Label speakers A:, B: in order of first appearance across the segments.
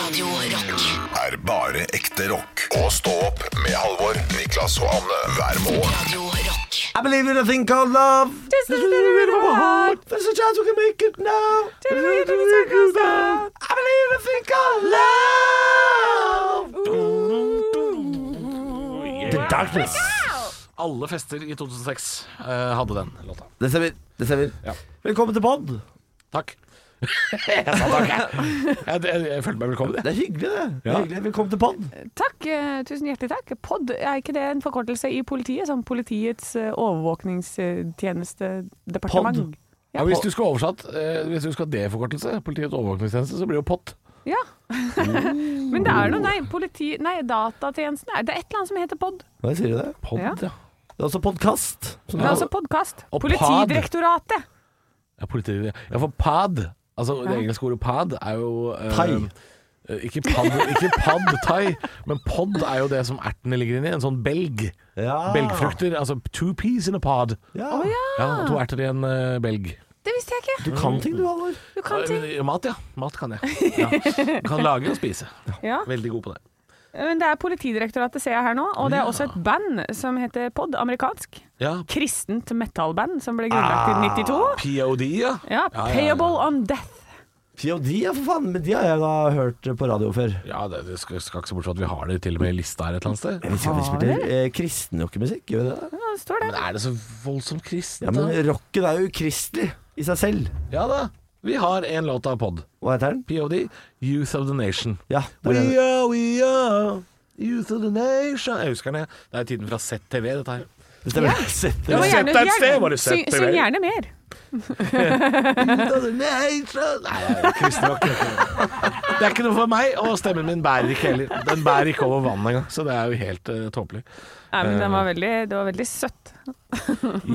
A: Radio Rock.
B: er bare ekte rock. Og stå opp med Halvor, Niklas og Anne hver morgen.
A: Radio Rock.
C: I believe in a thing called love. Just a little bit of a heart. There's a chance we can make it now. Just a little bit of a I believe in a thing called love. The darkness.
D: Alle fester i 2006 eh, hadde den låta.
C: Det stemmer. Det stemmer. Velkommen til pod.
D: Takk. jeg sa takk, jeg. Jeg, jeg, jeg følte meg velkommen. jeg.
C: Det er hyggelig, det. det er
D: Ja.
C: hyggelig. Velkommen til pod.
E: Takk, eh, tusen hjertelig takk. POD, er ikke det en forkortelse i politiet? Sånn Politiets eh, overvåkningstjenestedepartement?
D: Ja, hvis du skulle oversatt eh, Hvis du skulle ha D-forkortelse, Politiets overvåkningstjeneste, så blir det jo POT.
E: Ja.
D: Mm.
E: Men det er noe, nei, politi... Nei, datatjenesten er Det er et eller annet som heter POD.
C: Hva sier du det?
D: POD,
E: Ja.
D: ja.
C: Det er også podkast.
E: Det er også podkast.
D: Og pod.
E: Politidirektoratet.
D: ja, politi, ja for PAD Altså Det engelske ordet PAD er jo eh,
C: Thai.
D: eh, Ikke pad, ikke pad thai, men pod er jo det som ertene ligger inni. En sånn belg.
C: Ja.
E: Ah.
D: Belgfrukter. Altså two peas in a pod.
C: Ja.
E: Å ja.
D: Ja, to erter i en eh, belg. Eh,
E: Det visste jeg ikke.
C: Du
D: Mm.
C: kan ting, du, Halvor.
E: Du kan ting.
D: Ja, Mat, ja. Mat kan jeg. Ja. Kan lage og spise.
E: Ja.
D: Veldig god på det.
E: Men det er Politidirektoratet, ser jeg her nå. Og det er også et band som heter POD, amerikansk.
D: Ja.
E: Kristent metalband som ble grunnlagt i 92.
D: POD, ja.
E: Ja,
D: Ah. ja, ja.
E: Payable on Death.
C: POD, ja, for faen. Men de har jeg da hørt på radio før.
D: Ja, det, det skal, skal ikke se bort fra at vi har det til og med i lista her et eller annet sted.
C: Jeg vet ikke om de
E: Har
C: spiller eh, kristen rockemusikk, gjør vi det?
E: Ja, det står det.
D: Men er det så voldsomt kristent,
C: Ja, men
D: da?
C: rocken er jo ukristelig i seg selv.
D: Ja da. Vi har en låt av pod.
C: Hva heter den?
D: POD, Youth of the Nation.
C: Ja, det er
D: We
C: det.
D: are, we are Youth of the Nation. Jeg husker den, jeg. Det er tiden fra ZTV, dette her.
C: det stemmer.
E: Ja.
C: Sett
E: Du
C: det.
E: må
D: Sett
E: gjerne-
D: deg et sted, var det
E: syng-
D: sett deg
E: Syng
D: vel?
E: gjerne mer.
D: Youth of the Nation. Nei, det er kristen rock. Det er ikke noe for meg, og stemmen min bærer ikke heller. Den bærer ikke over vannet engang, så det er jo helt uh, tåpelig.
E: Nei, men den var veldig, det var veldig søtt.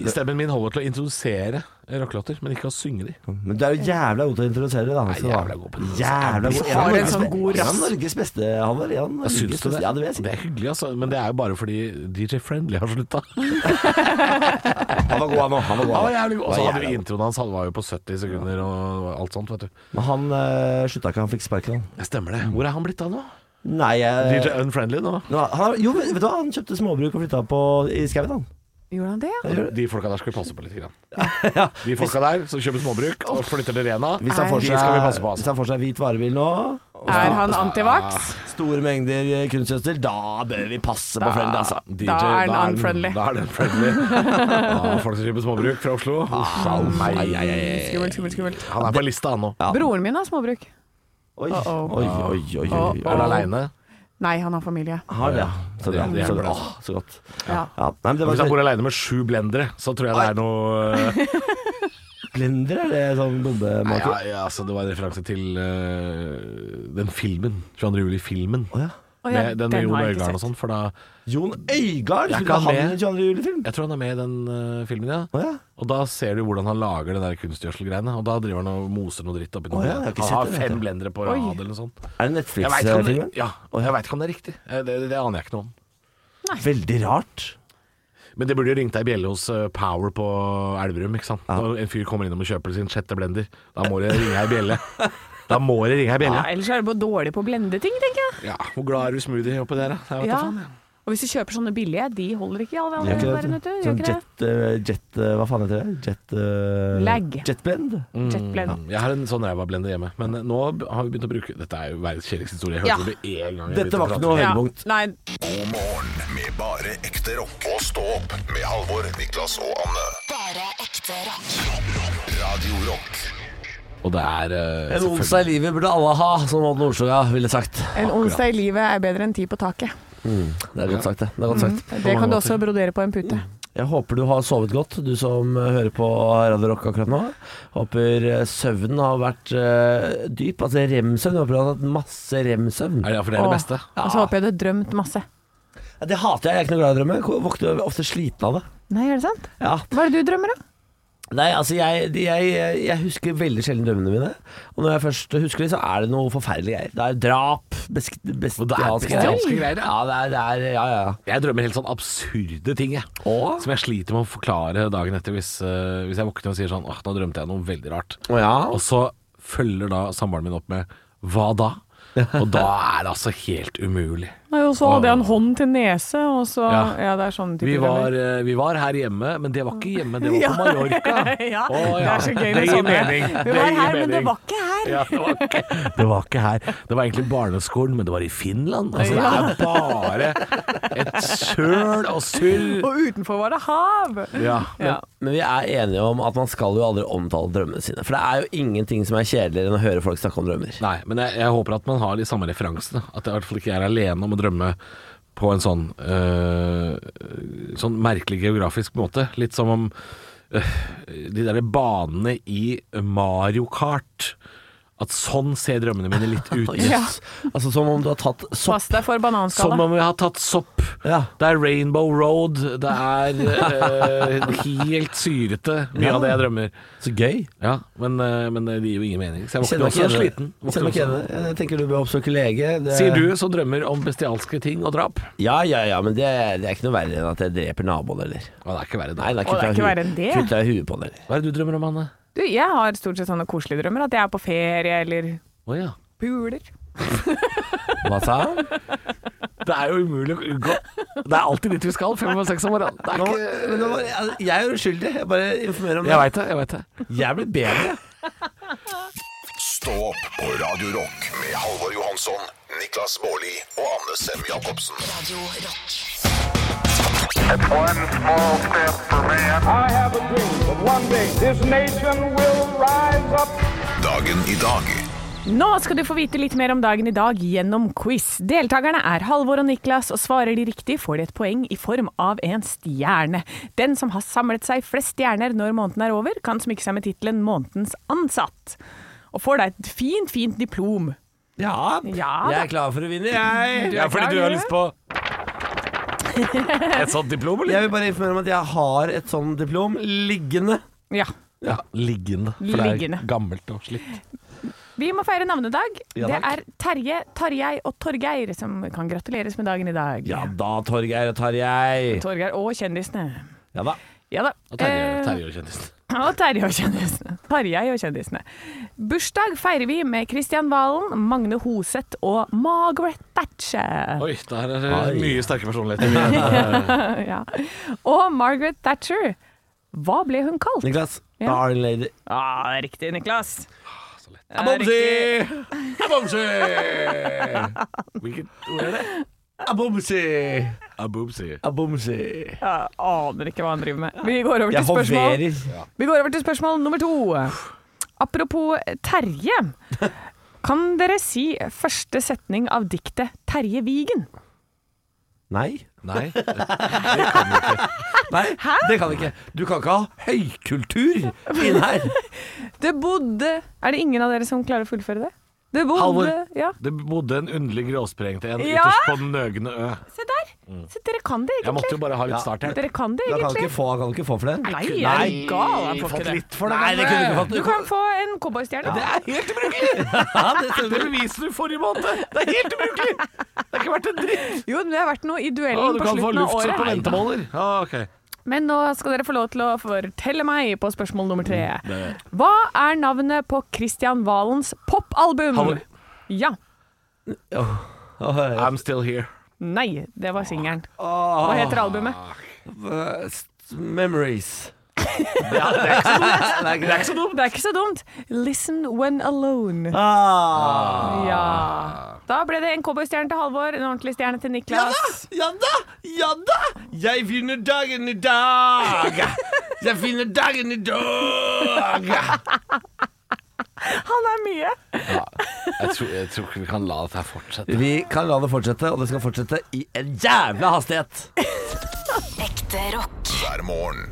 D: Stemmen min holder til å introdusere eh, rockelåter, men ikke å synge de.
C: Men du er jo jævla god til å introdusere det. da, så da.
D: jævla god på det. altså.
C: Jævla god.
D: Jeg har
C: En av
D: en
C: Norges
D: sånn
C: be-
D: god
C: en av
D: rass.
C: Norges beste, Halvor. En av Norges
D: Syns du
C: beste-
D: det?
C: Ja, det vil jeg si.
D: det er hyggelig, altså. Men det er jo bare fordi DJ Friendly har slutta.
C: Han var god, han òg. Han var god,
D: Og
C: han også.
D: så hadde vi
C: jævla god.
D: introen hans, han var jo på 70 sekunder og alt sånt, vet du.
C: Men han eh, slutta ikke, han fikk sparken, han.
D: Det Eh, stemmer det. Hvor er han blitt av nå?
C: Nei, jeg
D: DJ Unfriendly nå?
C: Nå, han, jo, vet du hva, han kjøpte småbruk og flytta på i skauen, han.
E: Gjorde han det? ja?
D: De folka der skal vi passe på litt. Grann. De folka der som kjøper småbruk og flytter til Rena.
C: Hvis han får
D: De
C: seg,
D: skal vi passe på, altså.
C: hvis han får seg hvit varebil nå,
E: Er han antivax?
C: store mengder eh, kunstgjødsel, da bør vi passe på Friendly, altså.
D: DJ,
E: Da er den
D: da
E: unfriendly.
D: Da er den unfriendly. Ja, folk som kjøper småbruk fra Oslo. Uff, au, meg.
E: Skummelt, skummelt, skummelt.
D: Han er på lista, han nå.
E: Broren min har småbruk.
C: Oi,
E: Uh-oh.
C: oi, oi. oi, oi.
E: Uh-oh.
D: Er han aleine?
E: Nei, han har familie.
C: Har det, ja. Så
D: Det-
C: bra.
D: det
C: Så,
D: hjelper,
C: bra.
D: altså.
C: Åh, så godt.
E: Ja.
C: Ja. Nei, men det
D: Hvis han
C: var
D: bor aleine med sju blendere, så tror jeg det er noe eh,
C: Blender, er det sånn
D: Nei,
C: bombemaker?
D: ja, ja, altså, Det var en referanse til eh, den filmen. 22. juli-filmen.
C: Å ja.
E: Å ja,
D: Med den med
E: den
D: Jon
E: har jeg ikke
D: Øigarden og
E: sett.
D: sånn. For da
C: Jon Øygard
D: Jeg
C: spilte
D: kan
C: han i
D: med.
C: 22. julefilm.
D: Jeg tror han er med i den eh, filmen, ja.
C: Å ja.
D: Og da ser du hvordan han lager det der kunstgjøsselgreiene. Og da driver han og moser noe dritt oppi
C: Å
D: noe.
C: ja, jeg har ikke
D: han
C: sett
D: har
C: det, vet
D: fem
C: jeg.
D: blendere på
E: Oi.
D: rad eller noe sånt.
C: Er det
D: Jeg vet ikke om det,
C: Netflix-filmen?
D: ja, og jeg vet ikke om det er riktig. Eh, Det, det, det aner jeg ikke noe om.
C: Veldig rart.
D: Men det burde jo ringt ei bjelle hos eh, Power på Elverum. ikke sant? Når en fyr kommer innom og kjøper sin sjette blender, da må det ringe ei bjelle. Da må det ringe ei
E: Ja,
D: bjelle.
E: ellers er det bare dårlig på å blende ting, tenker jeg.
D: Ja, Hvor glad er du i smoothie oppi der, da? Jeg vet da
E: Ja.
D: faen, jeg.
E: Og hvis du kjøper sånne billige, de holder ikke i all
C: Gjør ikke det,
E: verden, vet du. Gjør
C: Sånn
E: ikke det?
C: jet, eh, jet eh, Hva faen heter det? Jet eh,
E: Lag.
C: Jetblend?
E: Jetblend.
D: Jeg har en sånn ræva-blender hjemme, men nå b- har vi begynt å bruke Dette er jo verdens kjedeligste historie. Jeg
E: Ja.
D: hørte det én gang. jeg
C: Dette
D: begynte å
C: var ikke
D: prate.
C: noe
E: Ja.
C: høydepunkt.
E: Nei,
B: God morgen med bare ekte rock. Og stå opp med Halvor, Niklas og Anne.
A: Bare ekte rock.
B: Radio Rock
D: Og det er eh,
C: En
D: selvfølgelig-
C: onsdag i livet burde alle ha, som Odd Nordstoga ville sagt.
E: en onsdag i livet er bedre enn ti på taket.
C: Det er godt sagt, det. det, er godt sagt.
E: Det kan du også brodere på en pute.
C: Jeg håper du har sovet godt, du som eh, hører på Radio Rock akkurat nå. Håper eh, søvnen har vært eh, dyp. Altså rem-søvn. Jeg Håper du har hatt masse rem-søvn.
D: Er det, ja, for det er
E: Åh,
D: det beste.
E: Og så håper jeg du har drømt masse.
C: Ja, Det hater jeg. Jeg er ikke noe glad i å drømme. Jeg Våkner ofte sliten av det.
E: Nei, er det sant?
C: Ja.
E: Hva er det du drømmer, da?
C: Nei, altså jeg, jeg, jeg husker veldig sjelden drømmene mine. Og når jeg først husker dem, så er det noe forferdelig greier. Det er drap, besk- bestialske
D: bestialske
C: greier.
D: greier, ja.
C: Ja, det er, det er Ja, ja.
D: Jeg drømmer helt sånn absurde ting, jeg.
C: Åh?
D: Som jeg sliter med å forklare dagen etter hvis, eh, hvis jeg våkner og sier sånn Åh, nå drømte jeg noe veldig rart.
C: Å, ja.
D: Og så følger da samboeren min opp med Hva da? Og da er det altså helt umulig.
E: Nei, og så hadde jeg en hånd til nese, og så Ja,
D: Ja.
E: det er sånn type
D: Vi var,
E: greier.
D: eh, vi var her hjemme, men det var ikke hjemme, det var på Mallorca.
E: ja,
D: Å,
E: det
D: ja.
E: er så gøy
D: Det
E: med
D: gir
E: sånne.
D: mening.
E: Vi
D: Det
E: var
D: gir
E: her, men det
D: mening.
E: var ikke her.
D: Ja, det, var ikke, det var ikke her. Det var egentlig barneskolen, men det var i Finland. Altså, det er bare et søl og surr.
E: Og utenfor var det hav.
D: Ja.
E: Ja.
F: Men vi er enige om at man skal jo aldri omtale drømmene sine. For det er jo ingenting som er kjedeligere enn å høre folk snakke om drømmer.
D: Nei, men jeg, jeg håper at man har de samme referansene. At jeg i hvert fall ikke er alene om å drømme på en sånn øh, Sånn merkelig geografisk måte. Litt som om øh, de derre banene i Mario Kart. At sånn ser drømmene mine litt ut.
E: Ja.
F: Altså Som om du har tatt sopp.
E: Pass deg for
D: Som
E: bananskala.
D: om vi har tatt sopp.
F: Ja.
D: Det er Rainbow Road. Det er eh, helt syrete, mye av det jeg drømmer.
F: Så gøy.
D: Ja, men, eh, men det gir jo ingen mening. Så jeg
F: Kjenner meg
D: våkner
F: ikke
D: også
F: igjen i
D: sliten.
F: det. Kjenner
D: Våkner
F: meg ikke igjen
D: også.
F: i det. Jeg tenker du bør oppsøke lege. Det-
D: Sier du som drømmer om bestialske ting og drap.
F: Ja, ja, ja, men det, det er ikke noe verre enn at jeg dreper naboen, eller.
D: Å, det er ikke verre
F: Nei,
D: det.
F: da
E: Å, det
F: kutter jeg
E: er ikke
F: huet-
E: verre enn det.
F: kutter jeg huet på den, eller.
D: Hva er det du drømmer om, Anne?
E: Du, jeg har stort sett sånne koselige drømmer. At jeg er på ferie eller
D: Å ja.
E: puler.
F: Hva sa han?
D: Det er jo umulig å unngå. Det er alltid dit vi skal, fem og seks om morgenen. Det er
F: Nå,
D: ikke
F: men nå var, jeg- jeg er jo uskyldig, jeg bare informerer om det.
D: Jeg veit det, jeg veit det.
F: Jeg blir bedre.
B: Stå opp på Radio Rock med Halvor Johansson, Niklas Baarli og Anne Sem Jacobsen.
A: Radio Rock.
G: It's one small step for man.
H: I have a dream that one day this nation will rise up.
B: Dagen i dag
E: Nå skal du få vite litt mer om dagen i dag gjennom quiz. Deltakerne er Halvor og Niklas, og svarer de riktig får de et poeng i form av en stjerne. Den som har samlet seg flest stjerner når måneden er over, kan smykke seg med tittelen 'Månedens ansatt'. Og får da et fint, fint diplom.
F: Ja,
E: Ja
F: jeg
E: da.
F: er klar for å vinne, jeg.
D: Ja, fordi du har lyst på et sånt diplom, eller?
F: Jeg vil bare informere om at jeg har et sånt diplom liggende.
E: Ja.
D: Ja, liggende. For det
E: Liggende.
D: er gammelt og slitt.
E: Vi må feire navnedag.
F: Ja,
E: det
F: takk.
E: er Terje, Tarjei og Torgeir som kan gratuleres med dagen i dag.
F: Ja da, Torgeir og Tarjei.
E: Torgeir og kjendisene.
F: Ja da.
E: Ja da.
D: Og Terje,
E: Eh,
D: Terje og kjendisen.
E: Og Terje og kjendisene. Tarjei og kjendisene. Bursdag feirer vi med Kristian Valen, Magne Hoseth og Margaret Thatcher.
D: Oi, der er det
F: Oi.
D: mye sterke personligheter.
E: Ja. Og Margaret Thatcher, hva ble hun kalt?
F: Niklas.
E: Ja.
F: Iron Lady.
E: Ah, riktig, Niklas.
F: Ah,
D: Abomsi! Hvilket ord er det?
F: Abomsi.
D: Abomsi.
F: Abomsi.
E: Jeg aner ikke hva han driver med. Vi går over
F: Jeg
E: til spørsmål,
F: hoverer.
E: vi går over til spørsmål nummer to. Apropos Terje. Kan dere si første setning av diktet 'Terje Vigen'?
F: Nei.
D: Nei.
F: Nei, det kan vi ikke. Du kan ikke ha høykultur inn her.
E: Det bodde Er det ingen av dere som klarer å fullføre det? Det bodde
D: Halvor.
E: Ja.
D: Det bodde en underlig gråsprengte en
E: Ja.
D: ytterst på den nøgne ø.
E: Se der! Så dere kan det
D: Mm. Jeg
E: egentlig.
D: måtte jo bare ha
F: Ja.
D: litt starthjelp.
E: Dere kan det
F: Da kan du
E: egentlig.
F: ikke få, kan du ikke få for den.
E: Nei, jeg er
F: Nei.
E: gal. Jeg får
D: Fått
E: ikke det.
D: litt for det.
F: Nei, det kunne du ikke fått.
E: Du kan få en cowboystjerne.
D: Det er helt ubrukelig!
F: Ja, det stemmer.
D: Det beviste du forrige måned. Det er helt ubrukelig! Det er ikke verdt en dritt.
E: Jo, det har vært noe i
D: Å,
E: duellen
D: du kan
E: på
D: få
E: slutten av
D: luftsopp og
E: året.
D: ventemåler. Ja, ok.
E: Men nå skal dere få lov til å fortelle meg på spørsmål nummer tre.
D: Mm,
E: Hva er navnet på Christian Valens popalbum?
D: Halvor.
E: Ja.
F: Åh,
D: I'm still here.
E: Nei, det var singelen.
D: Ah.
F: åh,
E: Hva heter albumet?
F: øh, st- Memories.
E: Det er ikke så dumt. Det er ikke så dumt. Listen When Alone.
F: Ah.
D: Ah.
E: Ja. Da ble det en cowboystjerne til Halvor, en ordentlig stjerne til Niklas.
F: Ja da! Ja da! Jeg finner dagen i dag! Jeg finner dagen i dag!
E: Han er mye.
D: Jeg tror, jeg tror ikke vi kan la dette her fortsette.
F: Vi kan la det fortsette, og det skal fortsette i en jævla hastighet.
A: Ekte rock.
B: hver morgen.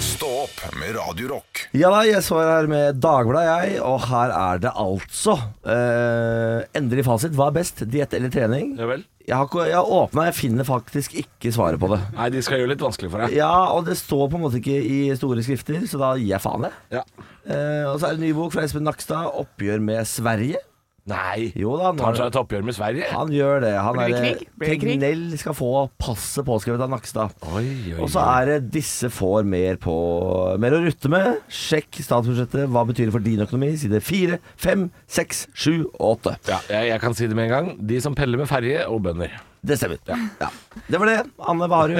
B: Stå opp med Radio Rock.
C: Ja da, jeg svarer her med Dagbladet, jeg. Og her er det altså eh, Endelig fasit. Hva er best, diett eller trening?
D: Ja vel.
C: Jeg har, ikke- jeg har åpna, jeg finner faktisk ikke svaret på det.
D: Nei, de skal gjøre det litt vanskelig for deg.
C: Ja, og det står på en måte ikke i store skrifter, så da gir jeg faen, jeg.
D: Ja.
C: Eh, og så er det en ny bok fra Espen Nakstad, 'Oppgjør med Sverige'.
D: Nei.
C: Jo da,
D: Tar
C: han,
D: seg et oppgjør med Sverige.
C: han gjør det. Han
E: Blir det
C: er-
E: krig? Blir det krig?
C: Tegnell skal få passet påskrevet av Nakstad.
D: Oi, oi,
C: Og så
D: oi.
C: er det disse får mer, på, mer å rutte med. Sjekk statsbudsjettet. Hva betyr det for din økonomi? Side 4, 5, 6, 7 og 8.
D: ja, jeg, jeg kan si det med en gang. De som peller med ferje og bønder.
C: Det stemmer. Ja. Det var det. Anne, hva har du?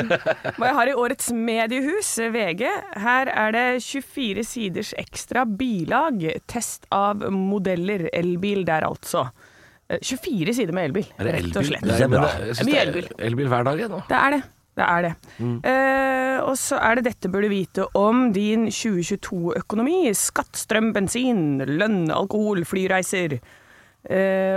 E: Hva jeg har i årets mediehus, VG. Her er det 24 siders ekstra bilag. Test av modeller. Elbil der, altså. Eh, 24 sider med elbil,
D: Er det
E: rett og
D: elbil?
E: slett.
D: Nei,
C: Det er
D: men
C: bra.
D: jeg synes
E: Det er mye
D: det er Mm. elbil hver dag, jeg nå.
E: Det er det. Det er det. Eh, og så er det dette burde vite om din 2022-økonomi. Skatt, strøm, bensin, lønn, alkohol, flyreiser. Eh,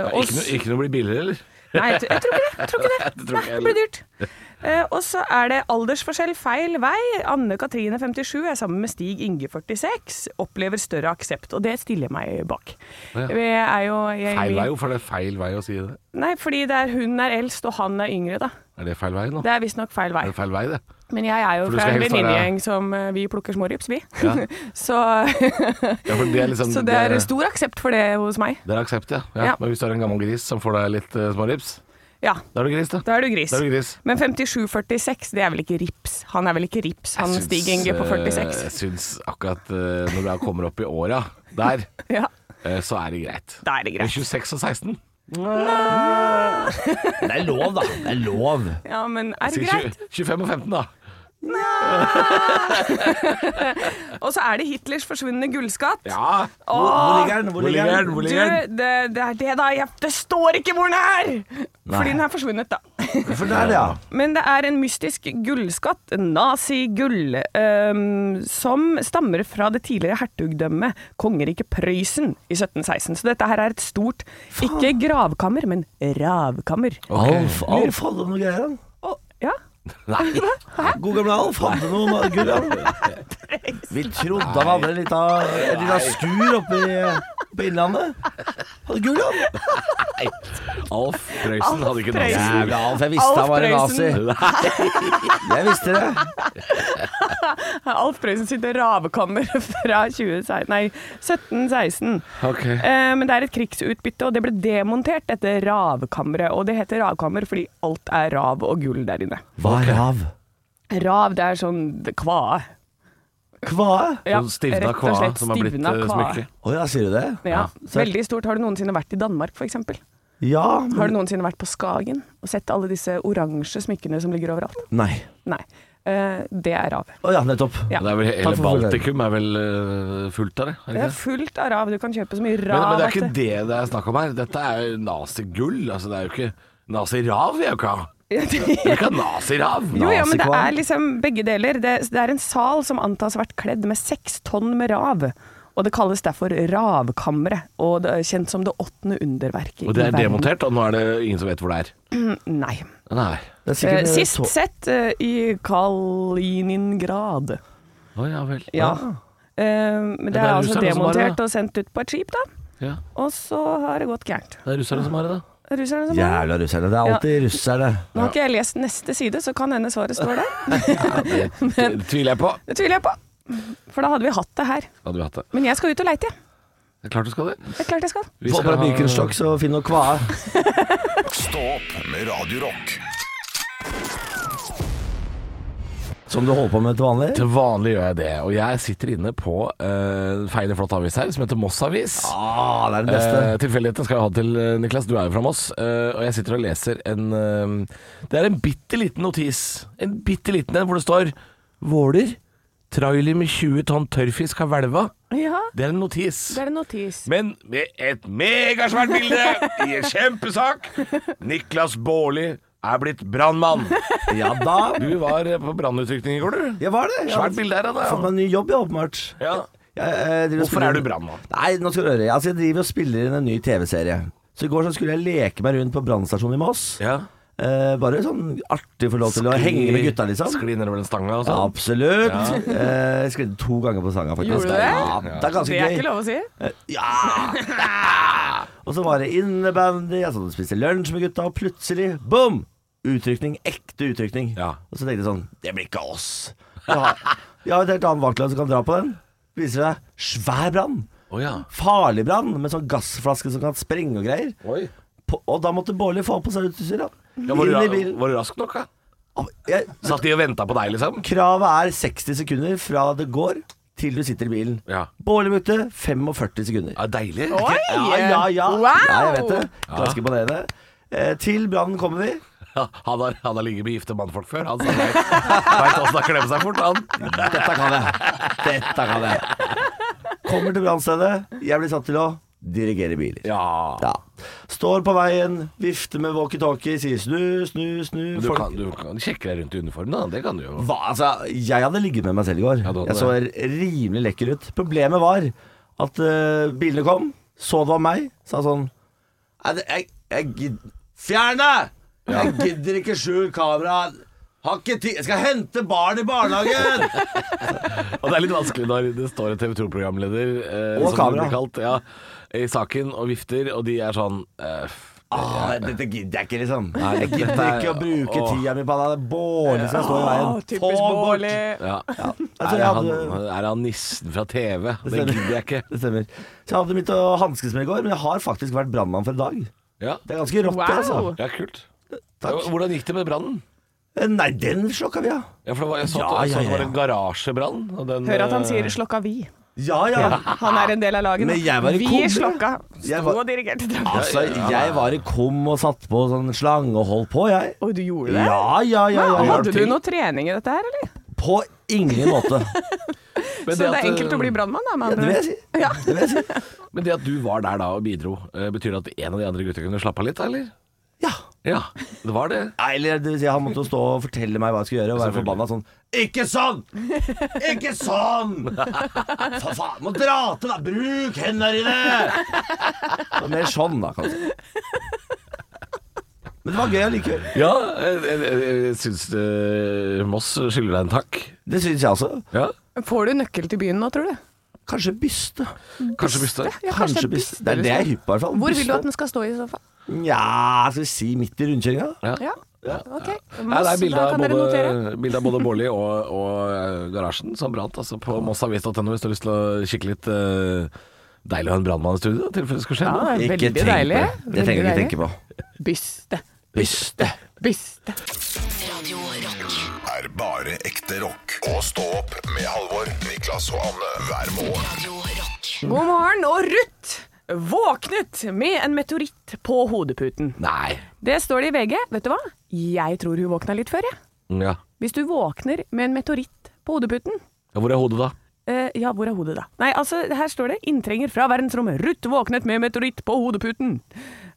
D: Nei,
E: og
D: Ikke, noe-
E: s-
D: ikke noe blir billigere, eller?
E: Nei, jeg, jeg tror ikke det. Jeg tror ikke det.
D: Det tror ikke
E: Nei,
D: jeg
E: det blir dyrt. Eh, og så er det aldersforskjell feil vei. Anne Katrine 57 er sammen med Stig Inge 46. Opplever større aksept, og det stiller jeg meg bak.
D: Ja.
E: Jeg er jo, jeg,
D: Feil vei, hvorfor er det feil vei å si det?
E: Nei, fordi det er hun er eldst, og han er yngre, da.
D: Er det feil vei nå?
E: Det er visstnok feil vei.
D: Er det feil vei, det?
E: Men jeg er jo
D: For du
E: fra
D: skal
E: en
D: helst være-
E: venninnegjeng som eh, vi plukker smårips, vi.
D: Ja.
E: så,
D: Ja, for det er liksom
E: så det er stor aksept for det hos meg.
D: Det er aksept, ja. ja.
E: Ja.
D: Men hvis du er en gammel gris som får deg litt eh, smårips,
E: Ja,
D: da er du gris, da.
E: da er du gris.
D: Da er du gris.
E: Men 57,46, det er vel ikke rips? Han er vel ikke rips, han
D: Jeg syns,
E: Stig Inge på
D: eh,
E: 46.
D: Jeg syns akkurat eh, når du kommer opp i åra der,
E: Ja,
D: eh, så er det greit.
E: da er det
D: Men
E: greit.
D: 26 og 16?
C: Det er lov, da. Det er lov.
E: Ja, men er det
D: Sier
E: greit?
D: 20, 25 og 15, da.
E: Og så er det Hitlers forsvunne gullskatt.
D: Ja.
C: Hvor, hvor ligger den? Hvor
D: Hvor
C: ligger
D: ligger
C: den?
D: den?
E: Du, det, det er det, da. Jeg, det står ikke hvor den er! Fordi den er forsvunnet, da.
C: For der, ja.
E: Men det er en mystisk gullskatt, nazigull, øhm, som stammer fra det tidligere hertugdømmet kongeriket Prøysen i 1716. Så dette her er et stort, ikke gravkammer, men ravkammer.
C: Alf, Alf hadde noe greier, han.
E: Og, ja,
C: God gamle Alf hadde noe gull, han. Vi trodde han hadde en lita, en lita skur oppe i på Innlandet. Hadde gull, han.
D: Alf Prøysen hadde ikke noe
E: Prøysen.
D: Jævla
C: Jævla Alf, jeg visste han var en
E: Alf
C: nazi.
E: Prøysen.
C: Jeg visste det.
E: Alf Prøysen sitt ravekammer fra 2016, nei, 1716.
D: Ok.
E: Eh, men det er et krigsutbytte, og det ble demontert, dette ravkammeret. Og det heter ravkammer fordi alt er rav og gull der inne.
C: Hva er rav?
E: Rav, det er sånn kvae.
C: Kvae?
E: Ja,
D: Sånn stivna
E: rett og
D: kvae
E: slett
D: som har blitt
E: stivna
D: eh,
E: kvae.
D: smykke.
C: Å ja, sier du det?
E: Ja,
C: Så-
E: Veldig stort. Har du noensinne vært i Danmark, f.eks.?
C: Ja.
E: Har du noensinne vært på Skagen og sett alle disse oransje smykkene som ligger overalt?
C: Nei.
E: Nei. Eh, det er rav.
C: Å ja, nettopp.
E: Ja.
D: Det er vel,
C: Takk
D: hele
C: for
D: Baltikum er vel eh, fullt av det? er det
E: Det
D: ikke
E: er
D: det?
E: fullt av rav. Du kan kjøpe så mye rav
D: Men, men det er
E: at
D: ikke det det er snakk om her. Dette er jo nazigull. Altså, det er jo ikke Nazirav vil jeg jo ikke ha. Vi vil ikke ha nazirav.
E: Jo, ja, men det
C: Nasikvam.
E: er liksom begge deler. Det, det er en sal som antas vært kledd med seks tonn med rav. Og det kalles derfor Ravkammeret, og det er kjent som det åttende underverket.
D: Og det
E: i
D: er
E: verden.
D: demontert, og nå er det ingen som vet hvor det er.
E: Nei.
D: Nei.
C: Det er
E: Eh,
C: sikkert,
E: sist
C: to-
E: sett eh, i Kaliningrad.
D: Å ja vel.
E: Ja. Eh, men det
D: det
E: er,
D: er russerne
E: altså
D: som har det,
E: demontert
D: da.
E: og sendt ut på et skip, da.
D: Ja.
E: Og så har det gått gærent.
D: Det er russerne som har det, da.
E: Russerne som har det.
C: Jævla russerne. Det er alltid russerne.
E: Nå har ikke jeg lest neste side, så kan hende svaret står der.
D: Det t- tviler jeg på.
E: Det tviler jeg på. For da hadde vi hatt det her.
D: Hadde vi hatt det.
E: Men jeg skal ut og leite, jeg.
D: Det er klart du skal det.
E: Det er klart jeg skal.
D: Vi
C: Få
D: skal
C: på deg
D: ha-
C: Birkenstock, så finn noe kvae.
B: Stå opp med Radio Rock.
C: Som du holder på med til vanlig.
D: Til vanlig gjør jeg det, og jeg sitter inne på eh, feil og flott avis her, som heter Moss Avis.
C: Ah, det er den beste.
D: Eh, tilfeldigheten skal jeg ha til eh, Niklas, du er jo fra Moss. eh, og jeg sitter og leser en eh, Det er en bitte liten notis. En bitte liten en hvor det står 'Våler. Trailer med 20 tonn tørrfisk har hvelva'.
E: Ja,
D: Det er en notis.
E: det er en notis.
D: Men med et megasvært bilde i en kjempesak. Niklas Baarli er blitt brannmann.
C: Ja da.
D: Du var eh, på brannutrykning i går, du.
C: Jeg var det. Jeg
D: Svært bilde her, da.
C: Fått meg en ny jobb, ja, åpenbart.
D: Ja.
C: Jeg, eh, driver og
D: Hvorfor
C: spiller-
D: er du brannmann?
C: Nei, nå skal du høre. Altså, jeg driver og spiller inn en ny TV-serie. Så i går så skulle jeg leke meg rundt på brannstasjonen i Moss.
D: ja.
C: Eh, bare sånn artig for lov til å henge med gutta, liksom.
D: Skli nedover den stanga og sånn.
C: Absolutt. Eh, jeg skrev to ganger på sanga, faktisk.
E: Gjorde du det?
C: Ja, det er ganske
E: Det er
C: gøy.
E: ikke lov å si.
C: Eh, Ja! Og så var det innebandy, jeg satt og spiste lunsj med gutta, og plutselig, boom! Utrykning. Ekte utrykning.
D: Ja.
C: Og så tenkte jeg sånn, det blir ikke oss. Vi har, vi har et helt annet vaktlag som kan dra på den. Viser det seg, svær brann.
D: Å Å ja.
C: Farlig brann med sånn gassflaske som kan sprenge og greier.
D: Oi.
C: På, og da måtte Bårli få på seg utstyret. da.
D: Ja, var, du,
C: Inn i
D: ra-
C: bilen.
D: var du rask nok, da?
C: Å, jeg-
D: Satt de og venta på deg, liksom?
C: Kravet er 60 sekunder fra det går til du sitter i bilen.
D: Ja.
C: Bårli brukte 45 sekunder.
D: Ja, deilig.
C: Ja, ja, ja.
E: Wow!
C: ja jeg vet det. Ganske imponerende. Eh, til brannen kommer vi.
D: Ja, Han har, han har ligget med gifte mannfolk før. Han veit åssen han klemmer seg fort, han.
C: Dette kan jeg. Dette kan jeg. Kommer til brannstedet. Jeg blir satt til å dirigere biler.
D: Ja.
C: Ja. Står på veien, vifter med walkietalkie, sier snu, snu, snu.
D: Du
C: Folk-
D: kan, du kan sjekke deg rundt i uniformen, da. Det kan du jo.
C: Hva, altså, jeg hadde ligget med meg selv i går.
D: Ja, du hadde
C: jeg så rimelig lekker ut. Problemet var at eh, bilene kom, så det var meg, sa sånn Nei, det- jeg, jeg gidder Fjern deg! Jeg gidder ikke skjul kamera. Har ikke tid Jeg skal hente barn i barnehagen!
D: Og det er litt vanskelig når det står en TV 2-programleder eh,
C: Og
D: som det
C: kamera.
D: blir kalt, ja, i saken og vifter, og de er sånn eh, f-
C: Ah, dette gidder jeg ikke, liksom.
D: Nei,
C: Jeg gidder
D: dette er-
C: ikke å bruke
D: åh.
C: tida mi på det. Det er Bårli som står i
E: Å,
C: veien. Få
E: typisk
C: bort.
E: Bårli.
D: ja.
C: tror
D: Er
C: Altså, jeg
D: han,
C: hadde-
D: er han nissen fra TV? Det
C: stemmer.
D: gidder jeg ikke.
C: Det stemmer. Så jeg hadde mitt å hanskes med i går, men jeg har faktisk vært brannmann for en dag.
D: Ja,
C: Det er ganske rått, det, altså.
E: Wow.
D: ja kult.
C: Takk.
D: Ja, Hvordan gikk det med brannen?
C: Eh, Nei, den slokka vi, ja.
D: Ja, for det var, jeg så,
C: Ja,
D: jeg så
C: ja,
D: det var
C: ja.
D: en garasjebrann. og den,
E: Hør at
D: eh,
E: han sier 'slokka vi'.
C: Ja, ja.
E: Han er en del av laget. nå.
C: Men jeg var i
E: vi
C: kobber.
E: slokka.
C: Jeg
E: Sto
C: var-
E: og dirigerte trafikken.
C: Altså, jeg var i kom og satt på sånn slange og holdt på, jeg.
E: Å, du gjorde det?
C: Ja, ja, ja.
E: Men
C: ja,
E: Hadde
C: ja.
E: du noe trening i dette her, eller?
C: På ingen måte.
D: men
E: Så det
D: at,
E: er enkelt
D: eh,
E: å bli brannmann, da. med
C: Det
E: andre
C: vil jeg
E: ord.
C: si. Det vil jeg si.
D: Men det at du var der da og bidro, eh, betyr at en av de andre gutta kunne slappe av litt, da, eller?
C: Ja.
D: Ja, det var det.
C: Nei, Eller det vil si, han måtte jo stå og fortelle meg hva jeg skulle gjøre, og være
D: Selvfølgelig.
C: forbanna sånn Ikke sånn! Ikke sånn! For faen, må dra til, da! Bruk hendene dine! Og Mer sånn, da, kanskje. Men det var gøy allikevel.
D: Ja, jeg, jeg, jeg, jeg syns eh, Moss skylder deg en takk.
C: Det syns jeg også.
D: Ja,
E: eh, Får du nøkkel til byen nå, tror du?
C: Kanskje byste.
D: Kanskje byste.
E: Ja, kanskje
C: Kanskje byste. Det er det jeg er hypp på, i hvert fall.
E: Hvor vil du
C: Byste.
E: at den skal stå i så fall?
C: Nja, skal vi si midt i rundkjøringa?
D: Ja.
E: Ja, ok.
D: Nei, det
E: Moss,
D: er bilde
E: da
D: av
E: kan dere notere.
D: både, bilde av både Bårli og, og eh, garasjen som brant altså på mossavis.no hvis du har lyst til å kikke litt. eh, deilig å ha en brannmann i studio i tilfelle det skulle skje
E: Ja,
D: noe.
E: det er veldig
C: tenk på
E: deilig.
C: det. Det trenger du ikke tenke på.
E: Byste.
C: Byste.
E: Byste.
A: Radio Rock.
B: er bare ekte rock. Og stå opp med Halvor, Niklas og Anne hver morgen.
A: Radio Rock.
E: God morgen, og Ruth våknet med en meteoritt på hodeputen.
D: Nei.
E: Det står det i VG. Vet du hva? Jeg tror hun våkna litt før, jeg.
D: Mm, Ja.
E: Hvis du våkner med en meteoritt på hodeputen,
D: Ja, Hvor er hodet, da?
E: Eh, ja, hvor er hodet da? Nei, altså, her står det Inntrenger fra verdensrommet Rutt våknet med meteoritt på hodeputen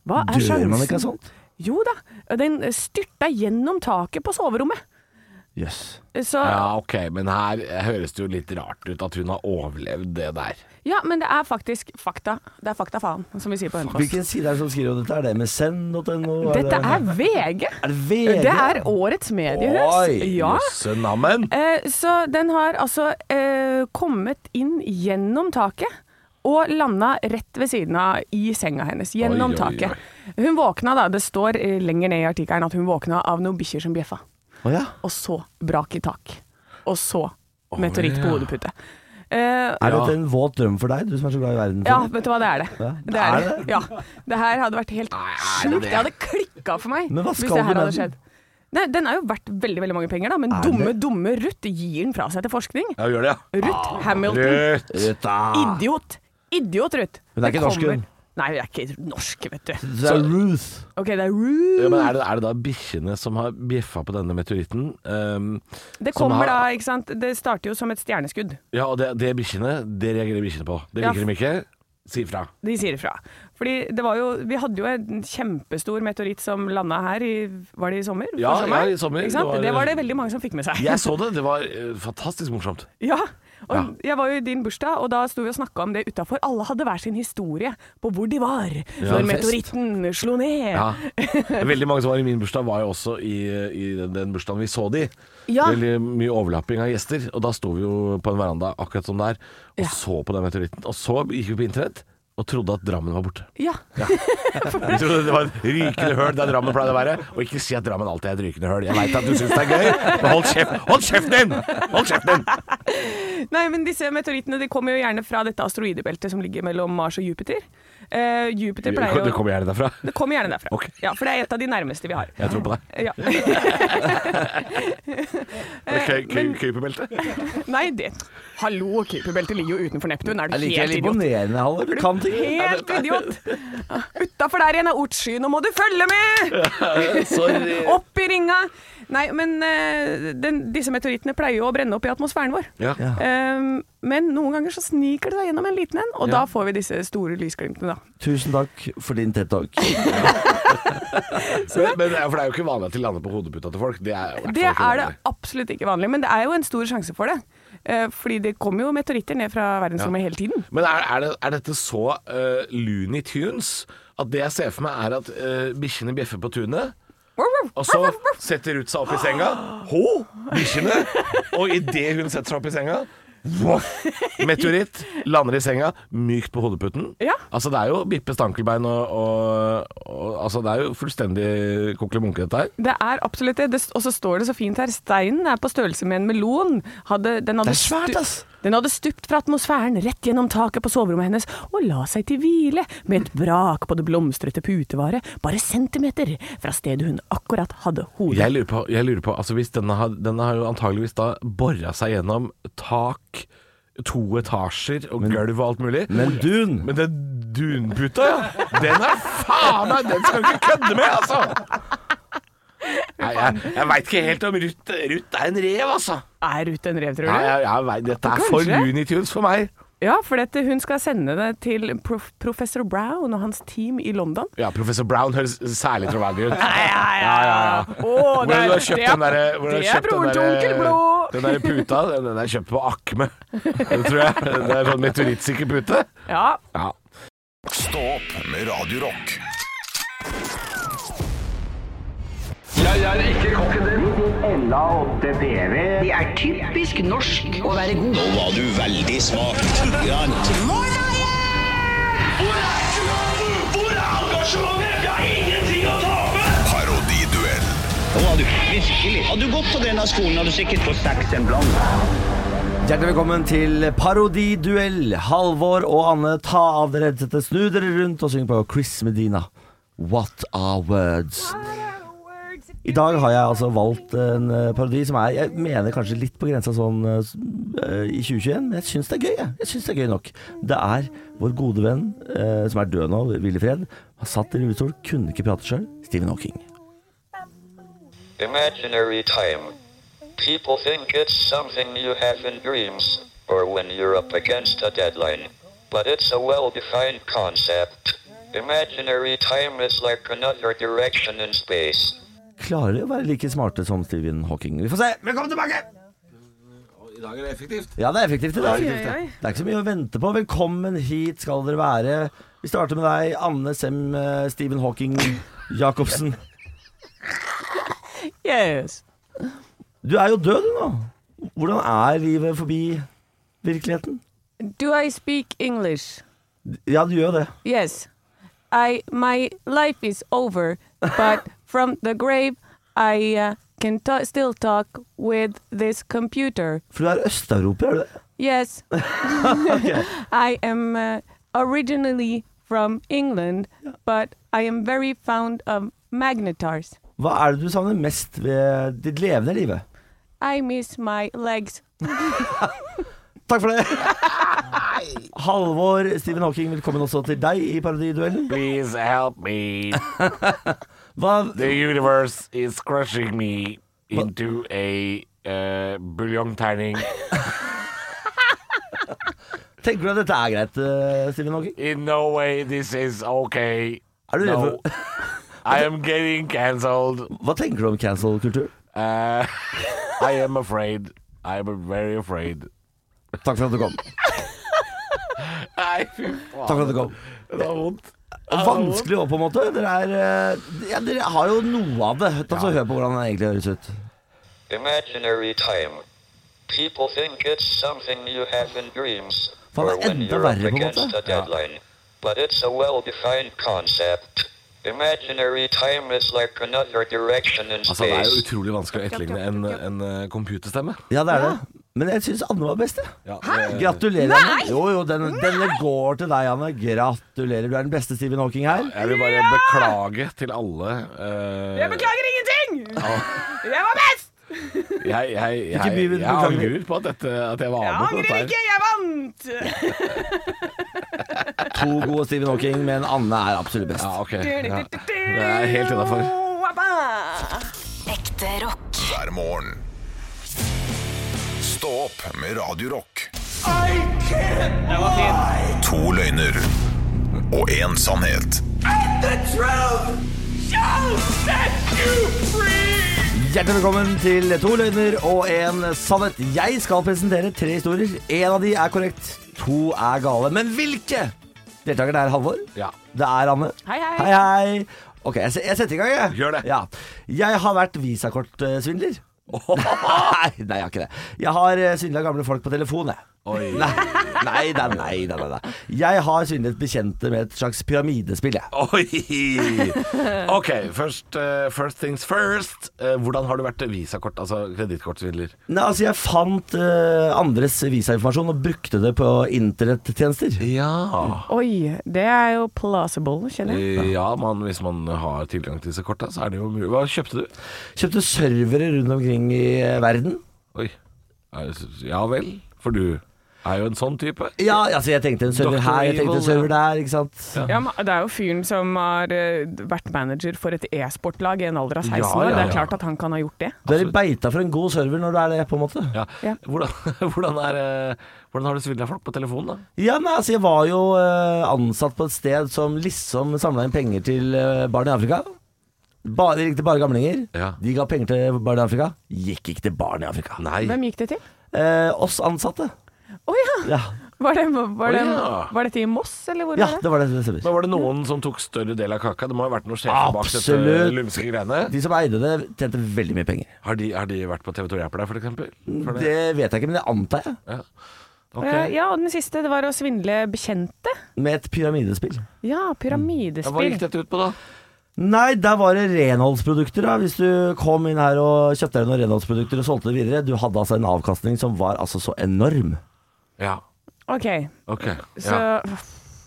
E: Hva er
C: Dør
E: sjansen?
C: man ikke av sånt?
E: Jo da, den styrta gjennom taket på soverommet
C: Jøss.
E: Så, ja.
D: Ja, ok, men her høres det jo litt rart ut at hun har overlevd det der.
E: men det er faktisk fakta Det er fakta faen, som vi sier på Hønefoss
C: Hvilken side er det som skriver om dette? Er det MSN.no?
E: Dette
C: det-
E: er VG
C: Er det VG?
E: Det er årets mediehus
C: Oi,
E: ja.
D: Jøssenammen!
E: Eh, Så den har altså eh, kommet inn gjennom taket og landa rett ved siden av i senga hennes. Gjennom
D: Oi, oi, oi.
E: taket. Hun våkna da, det står eh, lenger ned i artikkelen at hun våkna av noen bikkjer som bjeffa.
C: Å ja.
E: Og så brak i tak. Og så meteoritt på
D: ja.
E: hodepute. Eh,
C: Er
D: Ja.
C: dette en våt drøm for deg, du som er så glad i verden?
E: ja, vet du hva, det er det.
C: Ja,
E: Det er det. Ja. Det her hadde vært helt
D: er det
E: sjukt. Det hadde klikka for meg
C: Men hva
E: hvis
C: skal
E: det
C: du
E: her
C: med
E: hadde
C: den?
E: skjedd. Nei, den er jo verdt veldig veldig mange penger, da, men
C: Er
E: dumme,
C: det?
E: dumme Ruth gir den fra seg til forskning.
D: Ja, gjør det, ja.
E: Ruth Hamilton.
D: Rødt.
C: Rutta.
E: Idiot. Idiot, Ruth.
C: Hun er
E: Det
C: ikke norsk,
E: kommer-
C: hun.
E: Nei, hun er ikke norsk, vet du.
C: Det er Ruth.
E: Ok, det er
D: Ja,
E: Ruth.
D: men er det, er det da bikkjene som har bjeffa på denne meteoritten? Ehm,
E: Det
D: som har-
E: kommer da, ikke sant. Det starter jo som et stjerneskudd.
D: ja, og det, det bikkjene, det reagerer bikkjene på. Det
E: Ja.
D: liker de ikke. Si ifra.
E: De sier ifra. Fordi det var jo Vi hadde jo en kjempestor meteoritt som landa her i Var det i sommer?
D: Ja,
E: For sommer?
D: ja, i sommer.
E: Ikke
D: Det
E: sant?
D: var-
E: Det var det veldig mange som fikk med seg.
D: Jeg så det, det var eh, fantastisk morsomt.
E: Ja. Og Jeg var jo i din bursdag, og da sto vi og snakka om det utafor. Alle hadde hver sin historie på hvor de var når
D: fest.
E: meteoritten slo ned.
D: Ja. Veldig mange som var i min bursdag, var jo også i, i den- den bursdagen vi så de.
E: Ja.
D: Veldig mye overlapping av gjester, og da sto vi jo på en veranda akkurat som der, og så på den meteoritten. Og så gikk vi på internett og trodde at Drammen var borte.
E: Ja.
D: Jeg trodde det var et rykende høl der Drammen pleide å være. Og ikke si at Drammen alltid er et rykende høl. Jeg veit at du syns det er gøy, men hold, kjeft, hold kjeften din! Hold kjeften din!
E: Nei, men disse meteorittene de kommer jo gjerne fra dette asteroidebeltet som ligger mellom Mars og Jupiter. Eh, Jupiter pleier jo
D: Det kommer gjerne derfra.
E: Det kommer gjerne derfra.
D: Ok.
E: Ja, for det er et av de nærmeste vi har.
D: Jeg tror på deg.
E: Ja.
D: Kø- kø- Køypebelte.
E: Nei, det Hallo, Kuiperbeltet ligger jo utenfor Neptun. Er du
C: Jeg liker
E: helt
C: deg
E: idiot?
C: imponerende, Halvor. Du kan ting.
E: Helt idiot! Utafor der igjen er Ortsky, nå må du følge med!
C: Sorry.
E: Opp i ringa! Nei, men eh, den, disse meteorittene pleier jo å brenne opp i atmosfæren vår.
D: Ja.
E: Ehm, men noen ganger så sniker det seg gjennom en liten en, og da får vi disse store lysglimtene, da.
C: Tusen takk for din TED Talk.
D: Men, men det er, for det er jo ikke vanlig at de lander på hodeputa til folk. Det er, jo i hvert fall
E: Det
D: ikke
E: er det
D: vanlig.
E: absolutt ikke vanlig, men det er jo en stor sjanse for det. Eh, fordi det kommer jo meteoritter ned fra verdensrommet hele tiden.
D: Men er, er, det, er dette så eh, Looney Tunes at det jeg ser for meg, er at uh, bikkjene bjeffer på tunet? Og så setter Ruth seg opp i senga. Hå, bikkjene! Og idet hun setter seg opp i senga voff, Meteoritt lander i senga, mykt på hodeputen.
E: Ja.
D: Altså Det er jo Bippe Stankelbein og, og, og altså, Det er jo fullstendig kokkelimunke, dette her.
E: Det er absolutt det. det og så står det så fint her. Steinen er på størrelse med en melon. Hadde, den, hadde
C: Det er svært,
E: stu-
C: ass.
E: den hadde stupt fra atmosfæren rett gjennom taket på soverommet hennes og la seg til hvile med et brak på det blomstrete putevaret, bare centimeter fra stedet hun akkurat hadde hodet.
D: Jeg lurer på, jeg lurer på altså hvis denne, har, denne har jo antageligvis da bora seg gjennom tak, to etasjer og gulv og alt mulig.
C: Men dun.
D: Men den dunputa, ja. Den er faen meg Den skal du ikke kødde med, altså! Nei, jeg jeg veit ikke helt om Ruth Ruth er en rev, altså.
E: Er ute en rev, tror du?
D: Nei, jeg, jeg vet, dette er for
E: Kanskje.
D: Looney Tunes for meg.
E: Ja, for dette, hun skal sende det til prof professor Brown og hans team i London.
D: Ja, Professor Brown høres særlig troverdig ut.
E: ja, ja, ja. Å, er
D: Hvor har du kjøpt den derre hvor har du
E: det er
D: kjøpt den
E: broren til
D: derre-
E: onkel Blå!
D: Den derre puta, den, den er kjøpt på Akme. Det tror jeg. Det er en sånn meteorittsikker pute.
E: Ja,
D: Ja.
B: Stå opp med Radio Rock. Parodiduell.
C: Hjertelig velkommen til Parodiduell. Halvor og Anne, ta av dere headsetet, snu dere rundt og syng på Chris Medina. What are words? I dag har jeg altså valgt en eh, parodi som er Jeg mener kanskje litt på grensa sånn eh, s- eh, i 2021, men jeg syns det er gøy. Jeg, jeg synes det er gøy nok. Det er vår gode venn eh, som er død nå, Willy Fred. Har satt i rullestol, kunne ikke prate sjøl. Stephen Hawking.
I: Imaginary time. People think it's something you have in dreams, or when you're up against a deadline. But it's a well defined concept. Imaginary time is like another direction in space.
C: Klarer å være like smarte som Stephen Hawking. Vi får se. Velkommen tilbake!
D: I dag er det effektivt.
C: Ja, det er effektivt i dag.
E: Oi, oi, oi.
C: Det er ikke så mye å vente på. Velkommen hit skal dere være. Vi starter med deg, Anne Sem eh, Stephen Hawking Jacobsen.
E: yes.
C: Du er jo død, du nå. Hvordan er livet forbi virkeligheten?
E: Do I speak English?
C: Ja, du gjør jo det.
E: Yes. I my life is over, but from the grave I uh, can ta still talk with this computer.
C: For du er østeuroper, er du det?
E: Yes. I am uh, originally from England, but I am very fond of magnetars.
C: Hva er det du savner mest ved ditt levende live?
E: I miss my legs.
C: Takk for det. Halvor Stephen Hawking, velkommen også til deg i Parodiduellen.
D: Please help me.
C: Hva
D: The universe is crushing me into a uh, buljongterning.
C: Tenker du at dette er greit, eh, Stephen Hawking?
D: In no way this is okay.
C: Er du redd
D: No. I am getting cancelled.
C: Hva tenker du om cancel-kultur?
D: Uh, I am afraid. I am very afraid.
C: Takk for at du kom.
D: Nei, fy
C: Takk for at du kom.
D: Det var vondt.
C: Vanskelig òg, på en måte. Dere, er, eh, ja, dere har jo noe av det. Ta så Hør på hvordan det egentlig høres ut.
I: Imaginary time. People think it's something you have in dreams,
C: Fan,
I: or
C: vad
I: when
C: enda
I: you're up
C: värre på något
I: against a
C: sätt.
I: deadline. But it's a well defined concept. Imaginary time is like another direction in
D: Altså, det er jo
I: space.
D: utrolig vanskelig å etterligne en, en eh, computerstemme.
C: Ja, det er det. Men jeg syns Anne var best, jeg.
D: Ja, det-
C: Gratulerer, Anne. Jo, jo, den, denne går til deg, Anne. Gratulerer. Du er den beste Stephen Hawking her.
D: Jeg vil bare beklage til alle. eh,
E: Jeg beklager ingenting! Jeg var best!
D: Jeg, jeg, jeg,
C: Ikke
D: jeg,
C: by- beklager.
D: angrer på at, dette, at jeg var
E: Jeg
D: med på
E: angrer
D: dette.
E: ikke, jeg vant!
C: To gode Stephen Hawking, men Anne er absolutt
D: her.
C: best.
D: Ja, ok. Ja. Det er helt innafor.
A: Ekte rock.
B: hver morgen. Stå opp med Radio Rock. To løgner og én sannhet.
C: Hjertelig velkommen til To løgner og en sannhet. Jeg skal presentere tre historier. Én av de er korrekt, to er gale. Men hvilke? Deltakeren er Halvor.
D: Ja.
C: Det er Anne.
E: Hei, hei.
C: hei, hei. Ok, jeg, se- jeg setter i gang, jeg.
D: Gjør det.
C: Ja. Jeg har vært visakortsvindler. nei, nei, jeg har ikke det. Jeg har svindla gamle folk på telefon, jeg.
D: Oi.
C: Nei, nei, nei, nei, nei, nei, nei. Jeg har svindlet bekjente med et slags pyramidespill, jeg.
D: Oi! Ok, først, eh, first things first. Eh, hvordan har du vært visakort, altså kredittkortsvindler?
C: Nei, altså Jeg fant eh, andres visainformasjon og brukte det på internettjenester.
D: Ja.
E: Oi, det er jo plausible, kjenner jeg.
D: Eh, Ja, man, hvis man har tilgang til disse korta, så er det jo mulig. Hva kjøpte du?
C: Kjøpte servere rundt omkring i eh, verden.
D: Oi. Ja vel, for du er jo en sånn type.
C: Ja, altså jeg tenkte en server
D: Dr.
C: her, jeg tenkte
D: Evil,
C: en server
D: ja.
C: der, ikke sant.
E: Ja, men det er jo fyren som har eh, vært manager for et e-sportlag i en alder av 16
D: Ja,
E: år.
D: ja,
E: Det er
D: ja.
E: klart at han kan ha gjort det.
C: Du er i beita for en god server når du er det, på en måte.
D: Ja.
E: Ja.
D: Hvordan, hvordan, er, eh, hvordan har du svindla folk på telefonen, da?
C: Ja, nei, altså jeg var jo eh, ansatt på et sted som liksom samla inn penger til eh, barn i Afrika. Bare, de ringte bare gamlinger.
D: Ja.
C: De ga penger til barn i Afrika. Gikk ikke til barn i Afrika.
D: Nei.
E: Hvem gikk det til?
C: Eh, oss ansatte.
E: Å ja.
C: Ja,
E: Var, det, var, det,
D: Å, ja.
E: var dette i Moss, eller hvor
C: ja
E: var det?
C: det var det det stemmer.
D: Men var det noen som tok større del av kaka? Det må ha vært noen sjefer bak dette
C: Absolutt.
D: lumske greiene.
C: De som eide det, tjente veldig mye penger.
D: Har de, har de vært på TV 2 Hjelper deg, for eksempel? For
C: Det vet jeg ikke, men det antar jeg.
D: Ja. Ok.
E: Eh, Ja, og den siste, det var å svindle bekjente.
C: Med et pyramidespill.
E: Ja,
D: Mm. Ja, Hva gikk
E: pyramidespill.
D: dette ut på, da?
C: Nei, der var det renholdsprodukter. Da. Hvis du kom inn her og kjøpte deg noen renholdsprodukter og solgte det videre, du hadde altså en avkastning som var altså så enorm.
D: Ja,
E: Ok,
D: ok.
E: så
D: Ja.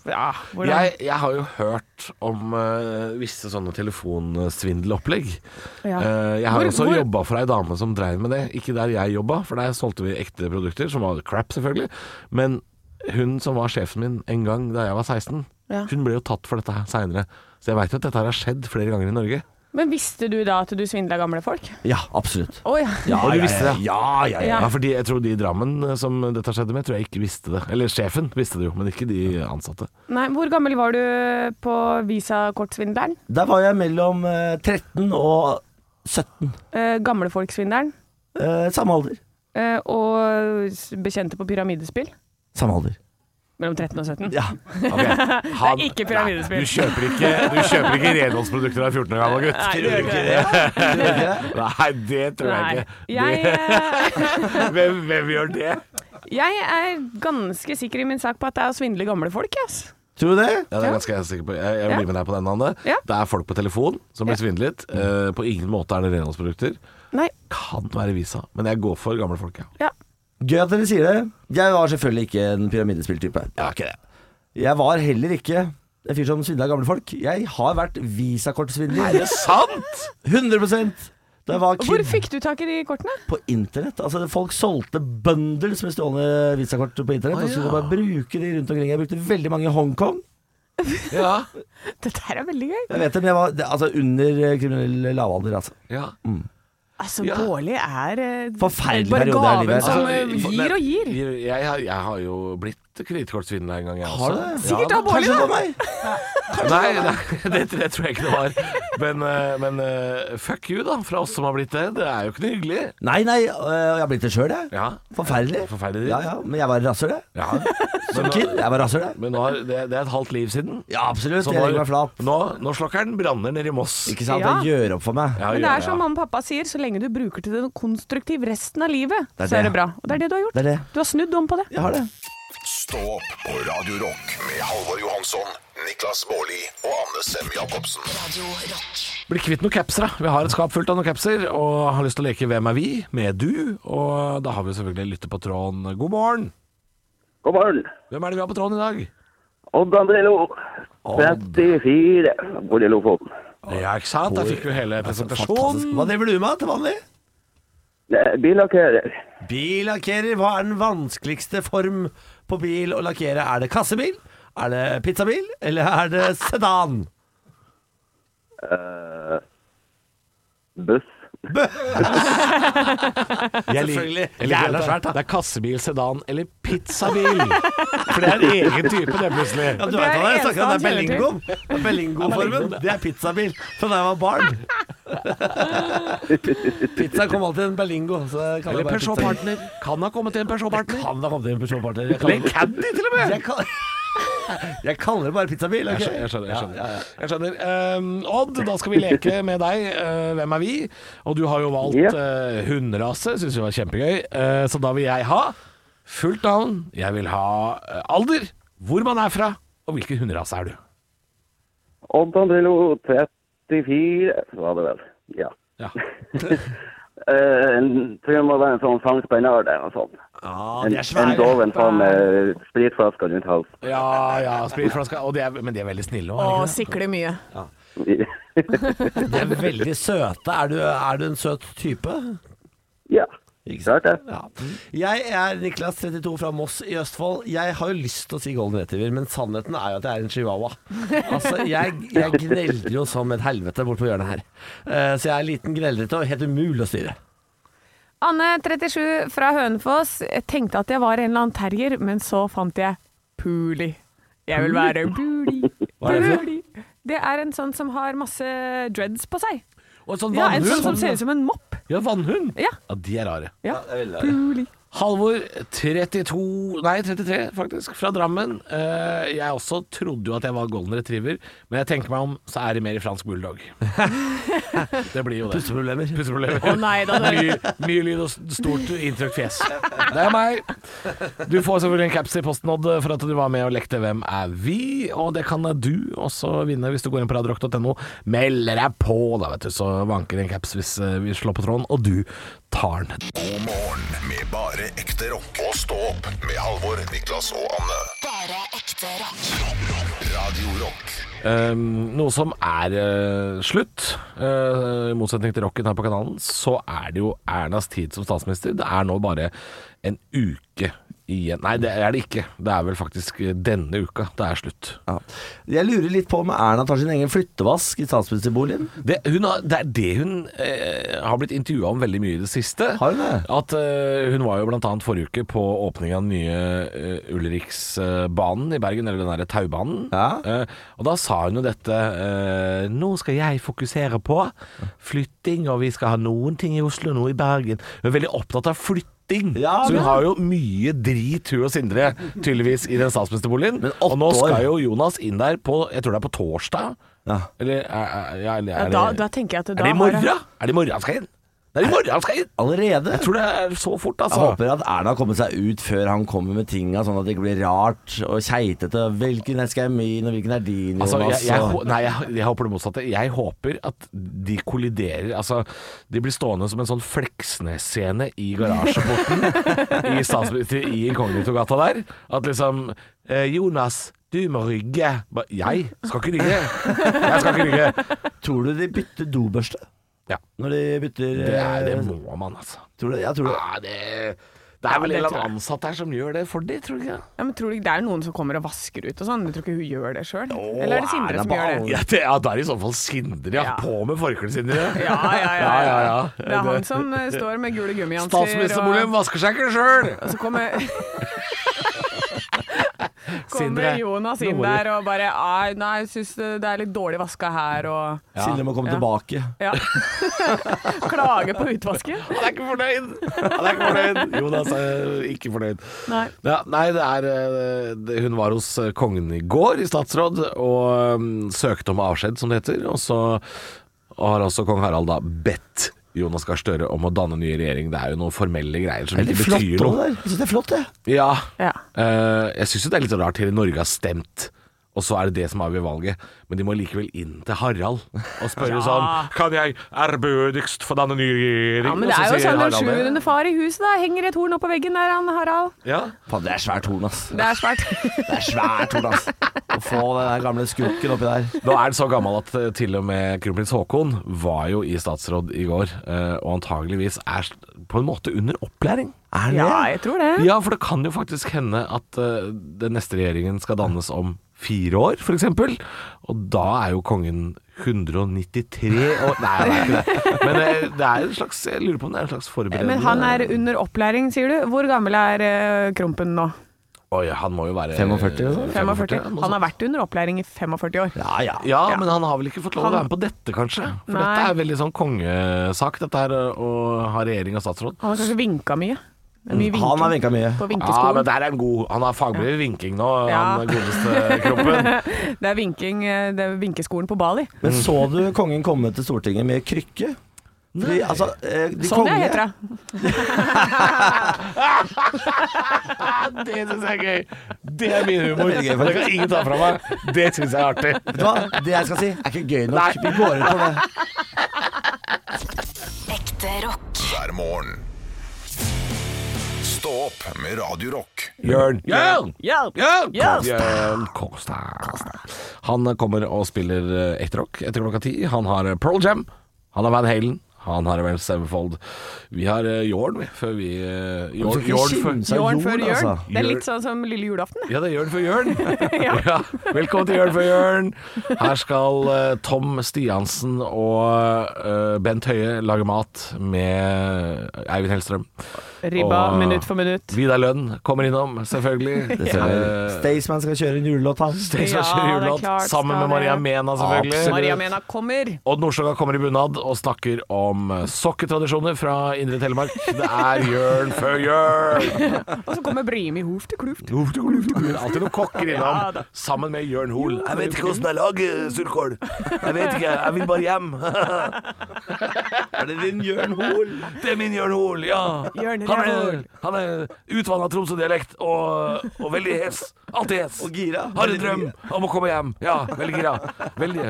E: ja, hvordan?
D: Jeg, jeg har jo hørt om eh, visse sånne telefonsvindelopplegg.
E: Ja.
D: Eh, jeg har
E: Hvor-
D: også
E: hvor-
D: jobba for ei dame som dreiv med det. Ikke der jeg jobba, for der solgte vi ekte produkter, som var crap, selvfølgelig. Men hun som var sjefen min en gang da jeg var 16,
E: Ja.
D: hun ble jo tatt for dette her seinere. Så jeg veit at dette her har skjedd flere ganger i Norge.
E: Men visste du da at du svindla gamle folk?
C: Ja, absolutt.
E: Å ja.
C: Ja,
D: Og du
C: ja,
D: visste det?
C: Ja, ja, ja.
E: Ja.
D: Ja, fordi jeg tror de i Drammen eh, som dette skjedde med, tror jeg ikke visste det. Eller sjefen visste det jo, men ikke de ansatte.
E: Nei, hvor gammel var du på visakortsvindleren?
C: Der var jeg mellom eh, 13 og 17.
E: Eh, Gamlefolksvindleren?
C: Eh, samme alder.
E: Eh, og s- bekjente på pyramidespill?
C: Samme alder.
E: Mellom 13 og 17?
C: Ja.
D: Han-
E: Det er ikke pyramidespill.
D: Nei, Du kjøper ikke, du kjøper ikke renholdsprodukter av 14 år gammel gutt.
E: Nei, det gjør ikke det.
D: Nei, det tror jeg
E: Nei.
D: ikke.
E: Jeg, eh,
D: Det, hvem, hvem gjør det?
E: jeg er ganske sikker i min sak på at det er å svindle gamle folk. jeg, ass.
C: Tror du det?
D: Ja, det er ganske jeg sikker på. Jeg, jeg blir med deg på den, Anne.
E: Ja.
D: Det er folk på telefon som blir svindlet. Eh, på ingen måte er det renholdsprodukter.
E: Nei,
D: Kan være visa, men jeg går for gamle folk, ja.
E: ja.
C: Gøy at dere sier det. Jeg var selvfølgelig ikke en pyramidespilltype. Jeg var ikke det. Jeg var heller ikke en fyr som svindla gamle folk. Jeg har vært visakortsvindler.
D: sant?
C: 100 da jeg var
E: Hvor
C: kid
E: fikk du tak i de kortene?
C: på internett. Altså Folk solgte bundles med stjålne visakort på internett.
D: Å,
C: Og så
D: ja.
C: kunne man bare bruke de rundt omkring. Jeg brukte veldig mange i Hongkong.
D: Ja.
E: Dette her er veldig gøy.
C: Jeg vet det, men jeg var det, altså, under eh, kriminell lavalder, altså.
D: ja.
E: Altså,
D: Ja.
E: Bårli er eh,
C: Forferdelig
E: bare
C: periode av livet.
E: gaven som
D: Altså,
E: eh,
D: for-
E: gir og gir.
D: Jeg, jeg, jeg har jo blitt kredittkortsvindler en gang, jeg også.
C: Har du det?
D: Ja,
E: Sikkert av
C: Kanskje
E: Bårli,
C: det var
E: da.
C: meg.
D: Nei, nei det, det tror jeg ikke det var. Men, eh, men eh, fuck you, da, fra oss som har blitt det. Det er jo ikke noe hyggelig.
C: Nei, nei, øh, jeg har blitt det sjøl, jeg.
D: Ja.
C: Forferdelig.
D: Forferdelig.
C: Ja, ja, men jeg var rasshøl, jeg.
D: Ja.
C: Som kid. Jeg var rasshøl, jeg.
D: Men nå har, det, det er et halvt liv siden.
C: Ja, absolutt.
D: Så
C: Jeg
D: nå,
C: legger meg flat.
D: nå, nå slokker den branner nede i Moss.
C: Ikke sant?
E: Ja.
C: Det gjør opp for meg.
D: Ja,
E: Men det
D: ja,
E: er som
D: ja.
E: mamma og pappa sier, så lenge du bruker til det noe konstruktivt resten av livet,
C: Det er
E: så er
C: det.
E: det bra. Og det er det du har gjort.
C: Det er det.
E: Du har snudd om på det.
C: Jeg har det.
B: Stå opp på Radio Rock med Halvor Johansson, Niklas Baarli og Anne Sem Jacobsen.
J: Radio Rock.
D: Bli kvitt noen capser, da. Vi har et skap fullt av noen capser, og har lyst til å leke Hvem er vi? med du. Og da har vi selvfølgelig lytter på tråden. God morgen!
I: God morgen.
D: Hvem er det vi har på tråden i dag?
I: Odd Andrelo. 34. Bor i Lofoten.
D: Ja, ikke sant? Da fikk vi hele presentasjonen.
C: Hva driver du med til vanlig?
I: Eh, Billakkerer.
C: Billakkerer. Hva er den vanskeligste form på bil å lakkere? Er det kassebil? Er det pizzabil? Eller er det sedan?
I: Eh, Buss.
D: Jeg liker-
C: Selvfølgelig.
D: jeg
C: Jævla
D: liker at det-
C: svært, da.
D: Det er kassebil, sedan eller pizzabil. For det er en egen type, det, plutselig.
C: Ja, du
E: Det er
C: vet hva det er.
E: det
C: Jeg snakker om det er
E: eneste
C: Bellingo. Det er Bellingo-formen. Det er pizzabil fra da jeg var barn. Pizza kom alltid i en Bellingo. Så jeg kaller
D: Eller
C: det bare
D: Peugeot
C: pizzabil.
D: Partner. Kan ha kommet til en Peugeot Partner.
C: Kan da komme til en Peugeot Partner. Jeg
D: Eller en
C: kaller det-
D: Caddy, til og med.
C: Jeg kaller- Jeg kaller det bare pizzabil. ok?
D: Jeg skjønner. jeg skjønner, jeg skjønner. Jeg skjønner. Ehm, Odd, da skal vi leke med deg. Eh, hvem er vi? Og du har jo valgt
I: Ja.
D: eh, hunderase, syns vi var kjempegøy. Eh, så da vil jeg ha fullt navn, jeg vil ha eh, alder, hvor man er fra, og hvilken hunderase er du?
I: Odd Andrelo. 34. Var det vel. Ja.
D: Ja.
I: Eh, en- tror jeg må være en sånn Sankt Bernard eller noe sånt.
C: Ja,
I: En,
C: de er svære.
I: en doven sånn, eh, faen med spritflasker rundt halsen.
D: Ja, ja, spritflaska. Og de er, men de er veldig snille
E: Å,
D: òg.
E: sikle mye.
C: De er veldig søte. Er du, er du en søt type?
I: ja.
C: Ikke sant?
I: Klart det.
C: Ja. Jeg er Niklas 32 fra Moss i Østfold. Jeg har jo lyst til å si golden retriever, men sannheten er jo at jeg er en chihuahua. Altså, jeg, jeg gneldrer jo som et helvete bort på hjørnet her. Eh, Så jeg er liten gneldrete og helt umulig å styre.
E: Anne, 37, fra Hønefoss. Jeg tenkte at jeg var en eller annen terrier, men så fant jeg Puli. Jeg vil være Puli.
C: Hva er det for noe?
E: Puli. Det er en sånn som har masse dreads på seg.
D: Og en sånn
E: Ja, en
D: vannhund.
E: sånn som ser ut som en mopp.
D: Ja, vannhund.
E: Ja.
D: ja, de er rare.
E: Ja. Puli.
D: Halvor, 32 Nei, 33 faktisk, fra Drammen. Eh, jeg også trodde jo at jeg var golden retriever, men jeg tenker meg om, så er det mer i fransk bulldog. det blir jo det.
C: Pusteproblemer.
D: Pusseproblemer.
E: Å nei, da dør jeg.
D: mye, mye lyd og s- stort inntrykk fjes. Det er meg. Du får selvfølgelig en caps i posten, Odd, for at du var med og lekte Hvem er vi? Og det kan du også vinne hvis du går inn på radiorock.no. Melder deg på, da, vet du, så vanker det en caps hvis eh, vi slår på tråden, og du tar den.
B: God morgen med bare ekte rock. Og stå opp med Halvor, Niklas og Anne.
J: Bare ekte rock.
B: Radio Rock
D: Um, noe som er eh, slutt, eh, i motsetning til rocken her på kanalen, så er det jo Ernas tid som statsminister. Det er nå bare en uke igjen. Nei, det er det ikke. Det er vel faktisk eh, denne uka det er slutt.
C: Ja. Jeg lurer litt på om Erna tar sin egen flyttevask i statsministerboligen.
D: Det, hun har, det er det hun eh, har blitt intervjua om veldig mye i det siste.
C: Har hun det?
D: At eh, Hun var jo bl.a. forrige uke på åpningen av den nye eh, Ulriksbanen i Bergen, eller den derre taubanen.
C: Ja.
D: Eh, og da sa hun jo dette eh, Nå skal jeg fokusere på flytting, og vi skal ha noen ting i Oslo, noe i Bergen. Hun er veldig opptatt av flytting.
C: Ja,
D: så hun
C: men-
D: har jo mye drit, hun og Sindre, tydeligvis, i den statsministerboligen.
C: Men åtte
D: Og nå
C: år.
D: skal jo Jonas inn der på Jeg tror det er på torsdag.
C: Ja.
D: Eller er, er, ja, eller
E: Ja,
D: er
E: da,
D: det
E: da tenker jeg at
D: Er
E: da
D: det i
E: har
D: morgen? Er det i morgen han skal inn? Det er i morgen han skal inn!
C: Allerede?
D: Jeg tror det er så fort,
C: Jeg
D: altså.
C: håper at Erna har kommet seg ut før han kommer med tinga, sånn at det ikke blir rart og keitete. Hvilken er skal jeg min, og hvilken er din, Jonas?
D: Altså, jeg, jeg,
C: og-
D: hå- nei, jeg, jeg håper det motsatte. Jeg håper at de kolliderer. Altså, de blir stående som en sånn Fleksnes-scene i garasjeporten i, statsminister- i Inkognitogata der. At liksom eh, Jonas, du må rygge. Ba, jeg skal ikke rygge. Jeg skal ikke rygge.
C: Tror du de bytter dobørste?
D: Ja.
C: Når de bytter
D: Det, er, det
C: eh,
D: må man, altså.
C: tror du, Jeg tror det.
D: Ja, det, det er vel en
E: det
D: eller
E: tror jeg.
D: annen ansatt her som gjør det for de, tror du ikke? det?
E: Ja, men tror du ikke det er noen som kommer og vasker ut og sånn? Du tror ikke hun gjør det sjøl? Eller er det
C: er
E: Sindre
C: det
E: som
C: på
E: gjør det?
D: Ja, det, ja, da er det i så fall Sindre, ja.
E: Ja.
D: På med forkleet, Sindre.
E: Ja, ja, ja.
D: Ja, ja, ja.
E: Det er han som eh, står med gule gummihansker og-
D: Statsministerboligen vasker seg ikke sjøl!
E: Og så kommer,
D: Sindre,
E: kommer Jonas inn
D: nå må du-
E: der og bare «Ai, Nei, jeg syns det det er litt dårlig vaska her, og
D: Ja.
C: Sindre må komme
E: Ja.
C: tilbake.
E: ja. Klage på utvasken.
D: Han er ikke fornøyd! Han er ikke fornøyd. Jonas er ikke fornøyd.
E: Nei.
D: Ja, nei, det er eh, det, Hun var hos eh, kongen i går, i statsråd, og mm, søkte om avskjed, som det heter. Og så har også kong Harald altså da bedt Jonas Gahr Støre om å danne ny regjering. Det er jo noen formelle greier som
F: Veldig
D: ikke
F: flott
D: betyr
F: også
D: noe.
F: der. Jeg synes det er flott, det.
D: Ja.
E: Ja.
D: Eh, jeg syns jo det er litt rart hele Norge har stemt, og så er det det som avgjør valget. Men de må likevel inn til Harald og spørre sånn Kan jeg ærbødigst få danne ny regjering?
E: Ja, men
D: Og
E: det
D: så
E: er jo
D: sier
E: sånn den
D: Harald det.
E: sjuende far i huset, da. Henger et horn oppå veggen der, han Harald.
D: Ja.
C: Faen, det er svært horn, ass.
E: Det er svært.
C: Det er svært horn, ass. Å få den der gamle skurken oppi der.
D: Nå er den så gammel at eh, til og med kronprins Haakon var jo i statsråd i går, eh, og antageligvis er s- på en måte under opplæring. Er
E: Ja, jeg tror det.
D: Ja, for det kan jo faktisk hende at eh, den neste regjeringen skal dannes om fire år, f.eks. Og da er jo kongen 193 år Nei, han er ikke det. Men eh, det er en slags Jeg lurer på om det er en slags forberedende
E: Men han er under opplæring, sier du. Hvor gammel er eh, Krompen nå?
D: Oi, han må jo være
C: 45 eller sånn?
E: 45.
D: ja, noe
E: Han
D: sånt.
E: har vært under opplæring i 45 år.
C: Ja, ja.
D: Ja, men han har vel ikke fått lov å være med på dette, kanskje? For
E: Nei.
D: dette er veldig sånn kongesak, dette her å ha regjering og statsråd.
E: Han har kanskje vinka mye. Det er mye vinking
C: Han har vinka mye.
E: På
D: Ja, men
E: vinkeskolen.
D: der er en god Han har fagbrev i vinking nå,
E: Ja.
D: han godeste kroppen.
E: det er vinking eh, Det er vinkeskolen på Bali.
C: Men så du kongen komme til Stortinget med krykke? Fordi, altså, eh, de
E: Sånn
C: kongelige-
E: jeg heter det.
D: Det syns jeg er gøy. Det er min humor.
C: Det er veldig gøy,
D: Det
C: faktisk.
D: kan ingen ta fra meg. Det syns jeg er artig.
C: Vet du hva? Det jeg skal si, er ikke gøy nok. Vi går ut på det.
A: Ekte rock.
B: hver morgen. Stå opp med Radio Rock.
D: Jørn. Jørn!
E: Hjelp!
D: Jørn
E: Jørn
D: Jørn Kårstad. Han kommer og spiller eh, etter rock etter klokka ti. Han har eh, Pearl Jam, han har Van Halen, han har Avenged Sevenfold. Vi har eh, Jørn, vi, før vi eh, Jørn, Jørn før
C: seg
E: Jørn før
C: jord,
E: jørn.
C: altså.
E: Det er litt sånn som lille julaften. det.
D: ja, det er Jørn før Jørn. ja. Velkommen til Jørn før Jørn. Her skal eh, Tom Stiansen og eh, Bent Høie lage mat med Eivind Hellstrøm.
E: Ribba
D: Og-
E: minutt for minutt.
D: Vidar Lønn kommer innom, selvfølgelig.
C: Det ser jeg.
D: Eh,
C: Staysman skal kjøre en julelåt, han.
D: Staysman
E: Ja,
D: kjører
E: det er
D: julelåt
E: klart,
D: sammen
E: skal
D: med Maria
E: det.
D: Mena, selvfølgelig.
E: Maria Mena kommer.
D: Odd Nordstoga kommer i bunad og snakker om eh, sokketradisjoner fra Indre Telemark. Det er Jørn før Jørn!
E: Og så kommer Brimi Hof til Kluft.
D: Alltid noen kokker
E: Ja, da.
D: innom, sammen med Jørn Hoel. Jeg vet ikke åssen det er laget, surkål. Jeg vet ikke, jeg vil bare hjem.
C: Er det din Jørn Hoel?
D: Det er min Jørn Hoel, ja.
E: Jørn
D: Han er,
E: Hoel.
D: han er utvanna Tromsø-dialekt og, og veldig hes. Alltid hes.
C: Og gira.
D: Har en drøm om å komme hjem. Ja, veldig gira. Veldig.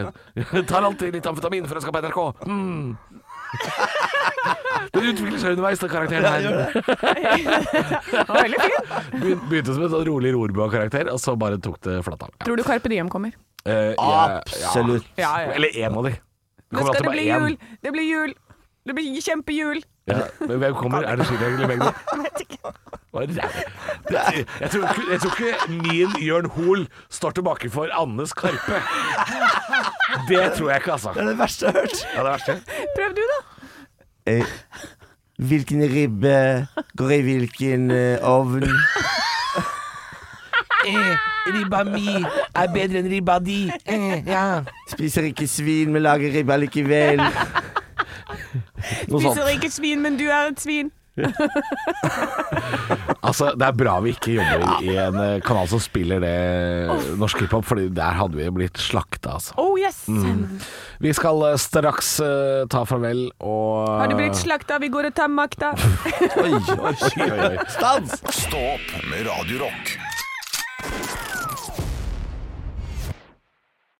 D: Tar alltid litt amfetamin før jeg skal på NRK. Mm. Det utvikler seg underveis, den karakteren her.
E: Han er Veldig fin.
D: Begyn- Begynte som en sånn rolig Rorbua-karakter, og så bare tok det flatt av. Ja.
E: Tror du Carpe Diem kommer?
D: Eh, jeg-
C: Absolutt.
E: Ja,
D: Ja.
E: ja.
D: Eller én av de. Det
E: Nå
D: kommer
E: skal
D: alltid
E: det
D: bare
E: bli
D: én.
E: jul! Det blir jul! Det blir kjempejul!
D: Ja, men hvem kommer? Er det Chirag eller Magdi? Hva er det der? Det- Jeg tror, ikke- jeg tror ikke min Jørn Hoel står tilbake for Annes Karpe. Det tror jeg ikke, altså.
C: Det er det verste jeg har hørt.
D: Ja, det er verste.
E: Prøv du, da.
C: Eh, Hvilken ribbe går i hvilken eh, ovn? Eh,
D: ribba mi er bedre enn ribba di. ja.
C: Spiser ikke svin, men lager ribba likevel. Noe sånt.
E: Spiser ikke svin, men du er et svin.
D: Altså, det er bra vi ikke jobber i en eh, kanal som spiller det norsk hiphop, Fordi der hadde vi blitt slakta, altså.
E: Oh yes!
D: Vi skal eh, straks eh, ta farvel og
E: Har du
D: Ah.
E: blitt slakta? Vi går og tar makta.
D: Oi, oi, oi, oi.
C: Stans!
B: Stå opp med Radio Rock.